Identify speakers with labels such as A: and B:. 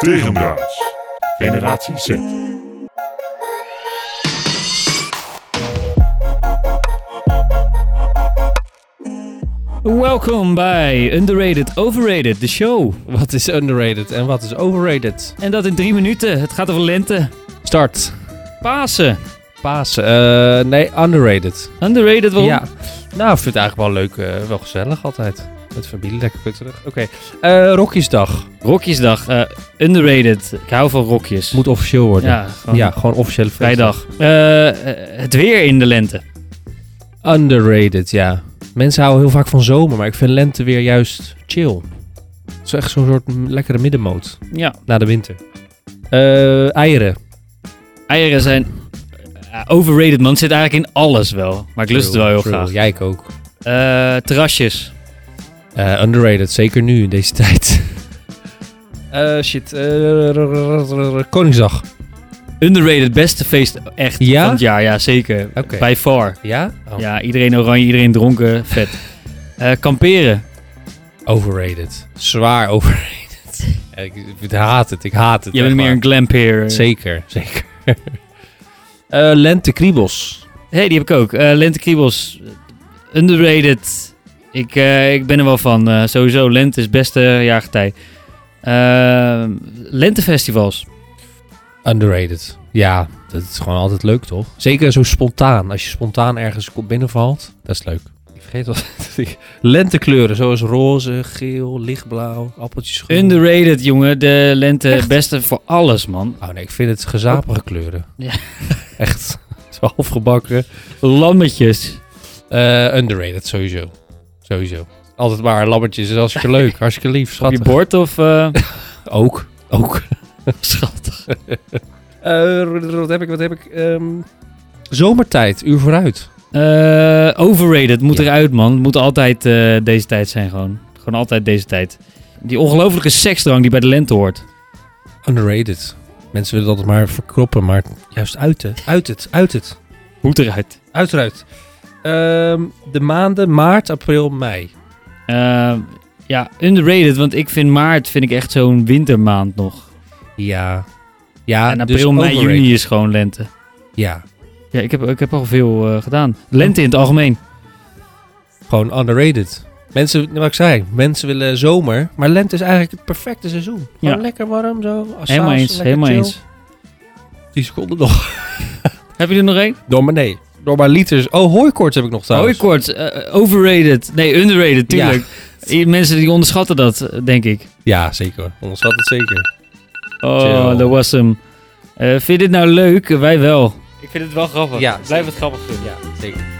A: Tegendraads. Generatie Z.
B: Welkom bij Underrated Overrated, de show.
C: Wat is underrated en wat is overrated?
B: En dat in drie minuten. Het gaat over lente,
C: Start.
B: Pasen.
C: Pasen. Eh, nee, underrated.
B: Underrated, waarom?
C: Ja. Nou, ik vind het eigenlijk wel leuk. eh, wel gezellig altijd. Met familie, lekker kutterig. Oké. Eh, Rokjesdag.
B: Rokjesdag, eh, underrated. Ik hou van rokjes.
C: Moet officieel worden. Ja,
B: ja, gewoon
C: gewoon officiële feestdag.
B: vrijdag. Eh, eh, het weer in de lente.
C: Underrated, ja. Mensen houden heel vaak van zomer, maar ik vind lente weer juist chill. Het is echt zo'n soort m- lekkere middenmoot
B: Ja,
C: na de winter. Eh, eieren.
B: eieren zijn eh, overrated, man. Het zit eigenlijk in alles wel. Maar ik lust het wel heel
C: True,
B: graag.
C: Jij ik ook.
B: Eh, terrasjes.
C: Eh, underrated, zeker nu in deze tijd. Eh, shit. eh, r- r- r- r- Koningsdag.
B: Underrated, beste feest echt
C: Ja?
B: van het jaar. Ja, zeker.
C: Oké.
B: By far.
C: Ja? Oh.
B: Ja, iedereen oranje, iedereen dronken. Vet. Eh, kamperen.
C: Overrated. Zwaar overrated. Ja, ik, ik haat het, ik haat het.
B: Je bent
C: echt
B: meer
C: waar.
B: een glampeer.
C: Zeker, zeker. Eh lente kriebels.
B: Hé, hey, die heb ik ook. Eh lente kriebels. Underrated. Ik, eh, ik ben er wel van. Eh, sowieso, lente is beste jaargetij. Ehm, lentefestivals.
C: Underrated. Ja, dat is gewoon altijd leuk, toch? Zeker zo spontaan. Als je spontaan ergens ko- binnenvalt, dat is leuk. Ik vergeet al. dat ik- Lentekleuren, zoals roze, geel, lichtblauw, appeltjes
B: Underrated, jongen. De lente beste voor alles, man.
C: Oh nee, ik vind het gezapige kleuren.
B: Ja.
C: Echt. Zo halfgebakken.
B: Lammetjes.
C: Eh, underrated, sowieso. Sowieso. Altijd maar lammetjes. is hartstikke leuk, hartstikke lief,
B: Op je
C: schattig.
B: bord of... eh,
C: Ook. Ook.
B: Schattig.
C: Eh, wat heb ik? Wat heb ik? Ehm, zomertijd, uur vooruit.
B: Eh, overrated. Moet
C: Ja.
B: eruit, man. Het moet altijd eh, deze tijd zijn, gewoon. Gewoon altijd deze tijd. Die ongelofelijke seksdrang die bij de lente hoort.
C: Underrated. Mensen willen dat maar verkroppen, maar juist uit het. Uit het, uit het.
B: Moet eruit.
C: Uit eruit. Ehm, de maanden maart, april, mei.
B: Eh, ja, underrated, want ik vind maart vind ik echt zo'n wintermaand nog.
C: Ja. Ja,
B: en
C: dus
B: april, mei,
C: overrated.
B: juni is gewoon lente.
C: Ja,
B: Ja, ik heb, ik heb al veel eh, gedaan. Lente in het algemeen.
C: gewoon underrated. Mensen, wat ik zei, mensen willen zomer, maar lente is eigenlijk het perfecte seizoen. Gewoon
B: Ja.
C: lekker warm zo.
B: Helemaal eens, helemaal eens.
C: Die seconden nog.
B: Heb je er nog één?
C: Door maar nee. Door maar liters. Oh, hooikoorts heb ik nog
B: Hoi
C: trouwens.
B: kort. eh, overrated. Nee, underrated, tuurlijk. I- Mensen die onderschatten dat, eh, denk ik.
C: Ja, zeker. Onderschat het zeker.
B: Oh,
C: Chill.
B: dat was hem. Eh, vind je dit nou leuk? Wij wel. Ik vind het wel grappig.
C: Ja, Blijf
B: het grappig vinden.
C: Ja, zeker.